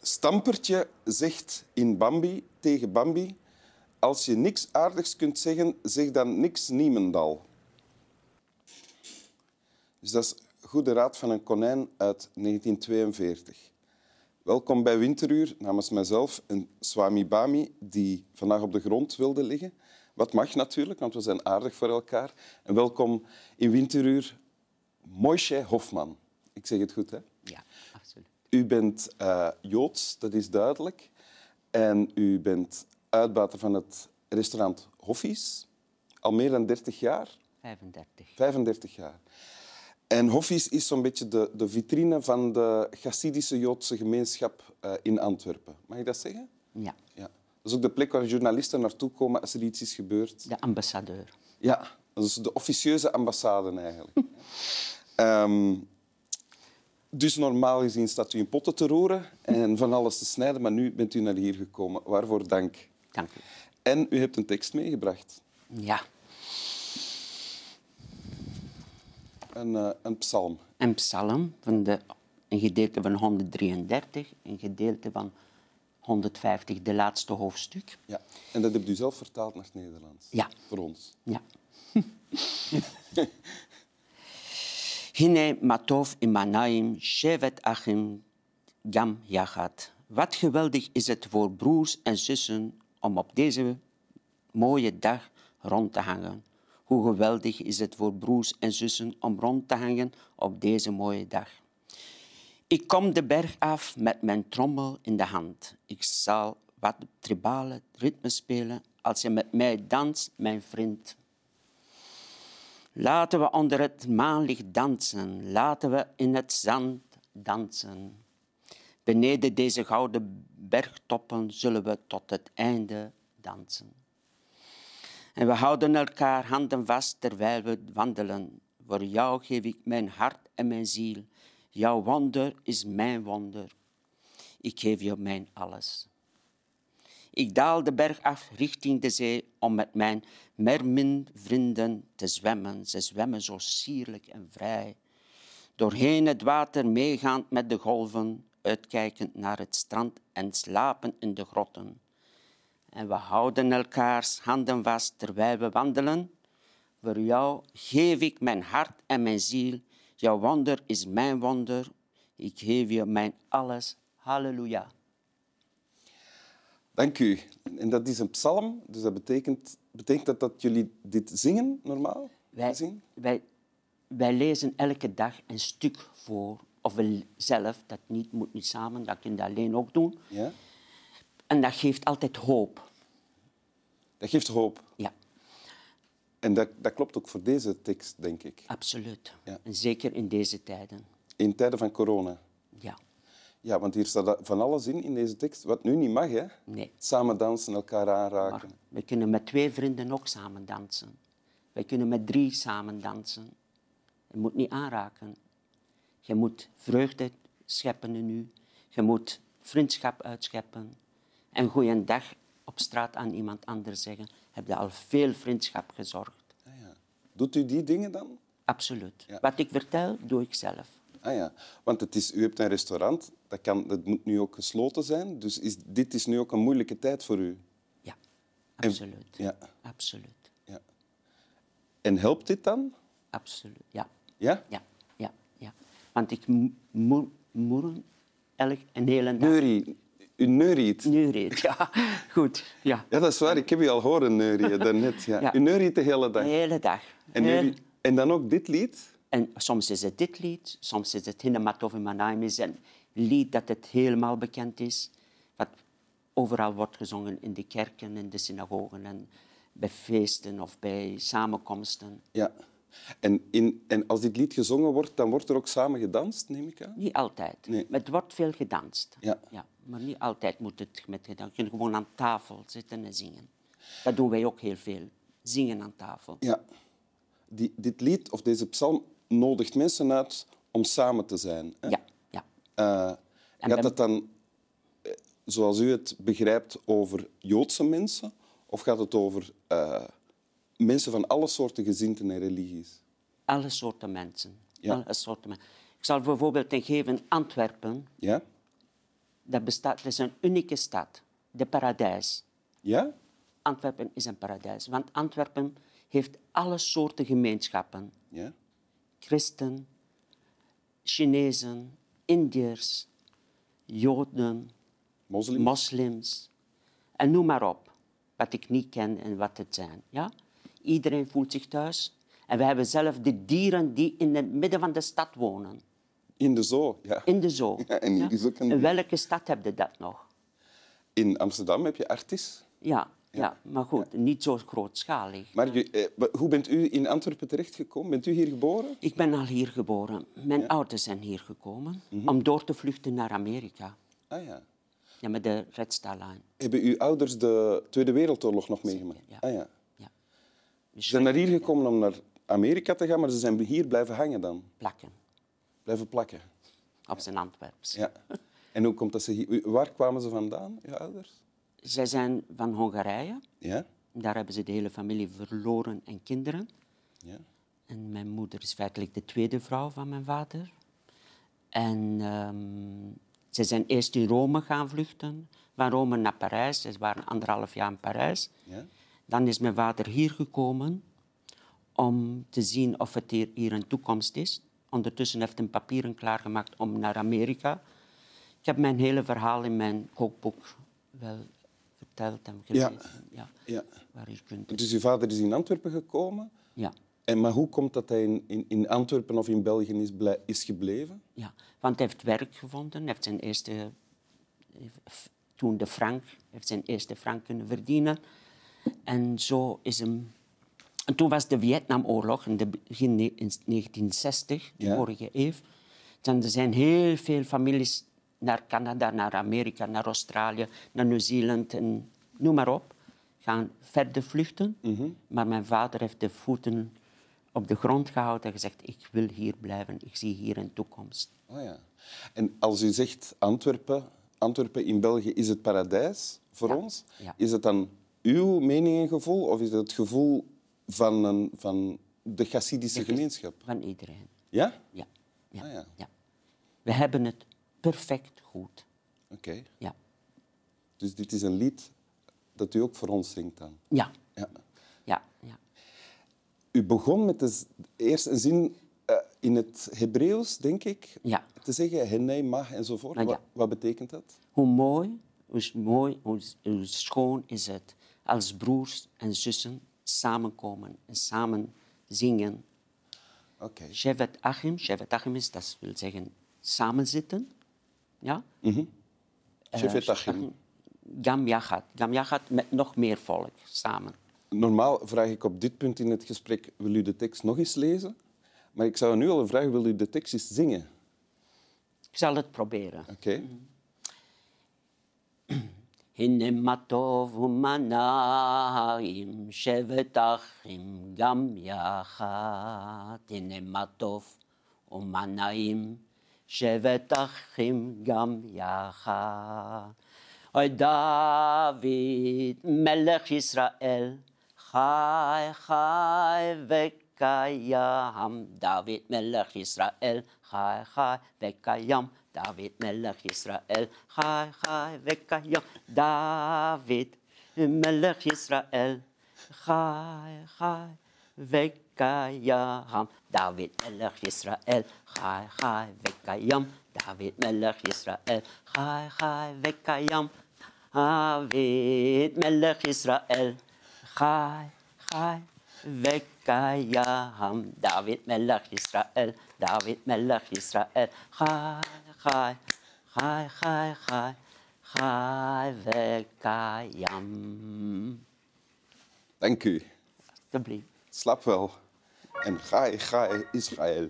Stampertje zegt in Bambi tegen Bambi... Als je niks aardigs kunt zeggen, zeg dan niks niemendal. Dus dat is Goede Raad van een Konijn uit 1942. Welkom bij Winteruur namens mijzelf en Swami Bami, die vandaag op de grond wilde liggen. Wat mag natuurlijk, want we zijn aardig voor elkaar. En welkom in Winteruur, Moishe Hofman. Ik zeg het goed, hè? Ja, absoluut. U bent eh, Joods, dat is duidelijk. En u bent uitbater van het restaurant Hoffies. Al meer dan 30 jaar. 35. 35 jaar. En Hoffies is zo'n beetje de, de vitrine van de Chassidische Joodse gemeenschap eh, in Antwerpen. Mag ik dat zeggen? Ja, Ja. Dat is ook de plek waar journalisten naartoe komen als er iets is gebeurd. de ambassadeur. Ja, dat is de officieuze ambassade eigenlijk. Ehm, dus normaal gezien staat u in potten te roeren en van alles te snijden, maar nu bent u naar hier gekomen. Waarvoor dank. Dank u. En u hebt een tekst meegebracht. Ja, Een, eh, een psalm. een psalm van de, een gedeelte van 133, een gedeelte van 150, de laatste hoofdstuk. Ja. En dat hebt u zelf vertaald naar het Nederlands. Ja. Voor ons. Ja. Hine matov imanaim shevet achim gam yachat. Wat geweldig is het voor broers en zussen om op deze mooie dag rond te hangen. Hoe geweldig is het voor broers en zussen om rond te hangen op deze mooie dag. Ik kom de berg af met mijn trommel in de hand. Ik zal wat tribale ritme spelen als je met mij danst, mijn vriend. Laten we onder het maanlicht dansen. Laten we in het zand dansen. Beneden deze gouden bergtoppen zullen we tot het einde dansen. En we houden elkaar handen vast terwijl we wandelen. Voor jou geef ik mijn hart en mijn ziel. Jouw wonder is mijn wonder. Ik geef je mijn alles. Ik daal de berg af richting de zee om met mijn merminvrienden te zwemmen. Ze zwemmen zo sierlijk en vrij. Doorheen het water meegaand met de golven, uitkijkend naar het strand en slapen in de grotten. En we houden elkaars handen vast terwijl we wandelen. Voor jou geef ik mijn hart en mijn ziel. Jouw wonder is mijn wonder. Ik geef je mijn alles. Halleluja. Dank u. En dat is een psalm, dus dat betekent, betekent dat dat jullie dit zingen normaal? Wij, Zingen? wij, wij lezen elke dag een stuk voor. Of we l- zelf, dat niet, moet niet samen, dat kun je alleen ook doen. Ja? En dat geeft altijd hoop. Dat geeft hoop. Ja, En dat, dat klopt ook voor deze tekst, denk ik. absoluut. Ja. En zeker in deze tijden. In tijden van corona. Ja, Ja, want hier staat van alles in, in deze tekst, wat nu niet mag, hè? nee. Samen dansen, elkaar aanraken. Maar we kunnen met twee vrienden ook samen dansen. Wij kunnen met drie samen dansen. Je moet niet aanraken. Je moet vreugde scheppen in u. Je moet vriendschap uitscheppen. En goeiedag op straat aan iemand anders zeggen. Heb je al veel vriendschap gezorgd. Ah, ja. Doet u die dingen dan? Absoluut. Ja. Wat ik vertel, doe ik zelf. Ah ja, want het is, u hebt een restaurant, dat, kan, dat moet nu ook gesloten zijn. Dus is, dit is nu ook een moeilijke tijd voor u. Ja, absoluut. Ja. Absoluut. ja. En helpt dit dan? Absoluut. Ja. Ja? Ja, ja, ja. Want ik mo- moer- moeren elk een hele dag. Neurie. U neuriet. Neuriet, ja. Goed, ja. Ja, dat is waar. Ik heb u al horen neurieën daarnet. Ja. Ja. U neuriet de hele dag. De hele dag. En, Heel- neuriet- en dan ook dit lied? en soms is het dit lied, soms is het Hinematov in Manaim, is een lied dat het helemaal bekend is. Wat overal wordt gezongen in de kerken, in de synagogen en bij feesten of bij samenkomsten. Ja. En, in, en als dit lied gezongen wordt, dan wordt er ook samen gedanst, neem ik aan? Niet altijd. Nee. Maar Het wordt veel gedanst. Ja. maar niet altijd moet het met gedanst. Je kunt gewoon aan tafel zitten en zingen. Dat doen wij ook heel veel. Zingen aan tafel. Ja. Die, dit lied of deze psalm nodigt mensen uit om samen te zijn. Hè? Ja, ja. Eh, En gaat dan- dat dan, eh, zoals u het begrijpt, over Joodse mensen? Of gaat het over eh, mensen van alle soorten gezinten en religies? Alle soorten mensen. Ja. Alle soorten men- Ik zal bijvoorbeeld een geven Antwerpen. Ja? dat bestaat, dat is een unieke stad, de paradijs. Ja? Antwerpen is een paradijs, want Antwerpen heeft alle soorten gemeenschappen. Ja? Christen, Chinezen, Indiërs, Joden, Moslim? moslims. En noem maar op, wat ik niet ken en wat het zijn. Ja? Iedereen voelt zich thuis. En we hebben zelf de dieren die in het midden van de stad wonen, In de zoo, ja. in de zoo. Ja, en hier is ook een- In welke stad heb je dat nog? In Amsterdam heb je artis. Ja, ja. maar goed, niet zo grootschalig. Maar je, eh, wa- hoe bent u in Antwerpen terechtgekomen? Bent u hier geboren? Ik ben al hier geboren. Mijn ouders zijn hier gekomen Mhm. om door te vluchten naar Amerika. Ah ja. Ja, met de Red Star Line. Hebben uw ouders de Tweede Wereldoorlog nog meegemaakt? ja. Ah ja. Ja. Ze zijn naar hier gekomen om naar Amerika te gaan, maar ze zijn hier blijven hangen dan. Plakken Blijven plakken. op zijn Antwerps. Ja. En hoe komt dat ze hier... Waar kwamen ze vandaan, uw ouders? Zij zijn van Hongarije. Ja? Daar hebben ze de hele familie verloren en kinderen. Ja. En mijn moeder is feitelijk de tweede vrouw van mijn vader. En ehm, ze zijn eerst in Rome gaan vluchten. Van Rome naar Parijs. Ze waren anderhalf jaar in Parijs. Ja? Dan is mijn vader hier gekomen om te zien of het hier, hier een toekomst is. Ondertussen heeft hij papieren klaargemaakt om naar Amerika. Ik heb mijn hele verhaal in mijn kookboek wel verteld en gelezen. Ja. Ja. Waar je kunt... Dus uw vader is in Antwerpen gekomen. Ja. En, maar hoe komt dat hij in, in, in Antwerpen of in België is, blij- is gebleven? Ja, want hij heeft werk gevonden. Hij heeft zijn eerste, f- toen de frank, hij heeft zijn eerste frank kunnen verdienen. En zo is hem. En toen was de Vietnamoorlog in de begin ne- in 1960, de Ja. vorige eeuw. Dan er zijn heel veel families naar Canada, naar Amerika, naar Australië, naar Nieuw-Zeeland en noem maar op. Gaan verder vluchten. Maar mijn vader heeft de voeten op de grond gehouden en gezegd: Ik wil hier blijven, ik zie hier een toekomst. Oh ja. En als u zegt Antwerpen, Antwerpen in België is het paradijs voor Ja, ons, ja. is het dan uw mening en gevoel of is het het gevoel van, een, van de Chassidische gemeenschap? Van iedereen. Ja? Ja. Ja. Ah, ja. ja. We hebben het perfect goed. Oké. Ja. Dus dit is een lied dat u ook voor ons zingt dan. Ja. Ja. Ja. ja. U begon met de z- eerst een zin eh, in het Hebreeuws, denk ik, Ja. te zeggen henei, mag enzovoort. Maar ja. Wat, wat betekent dat? Hoe mooi, hoe s- mooi, hoe, s- hoe schoon is het als broers en zussen samenkomen en samen zingen. Oké. Shevet Achim, Shevet Achim is, dat wil zeggen samenzitten. Ja? Eh, Shevet Achim. Gam Yachat. Gam Yachat met nog meer volk samen. Normaal vraag ik op dit punt in het gesprek, wil u de tekst nog eens lezen? Maar ik zou nu al vragen, wil u de tekst eens zingen? Ik zal het proberen. Oké. הנה מה טוב ומה נעים, שבת אחים גם יחד. הנה מה טוב ומה נעים, שבת אחים גם יחד. אוי דוד, מלך ישראל, חי חי וקיים. דוד מלך ישראל, חי חי וקיים. דוד מלך ישראל, חי חי וקיים. דוד מלך ישראל, חי חי וקיים. דוד מלך ישראל, חי חי וקיים. דוד מלך ישראל, חי חי וקיים. דוד מלך ישראל, חי חי וקיים דוד מלך ישראל, דוד מלך ישראל, חי, חי, חי, חי, חי, חי וקיים. Dank u. Alsjeblieft. Slaap wel. En ga, ga, Israël.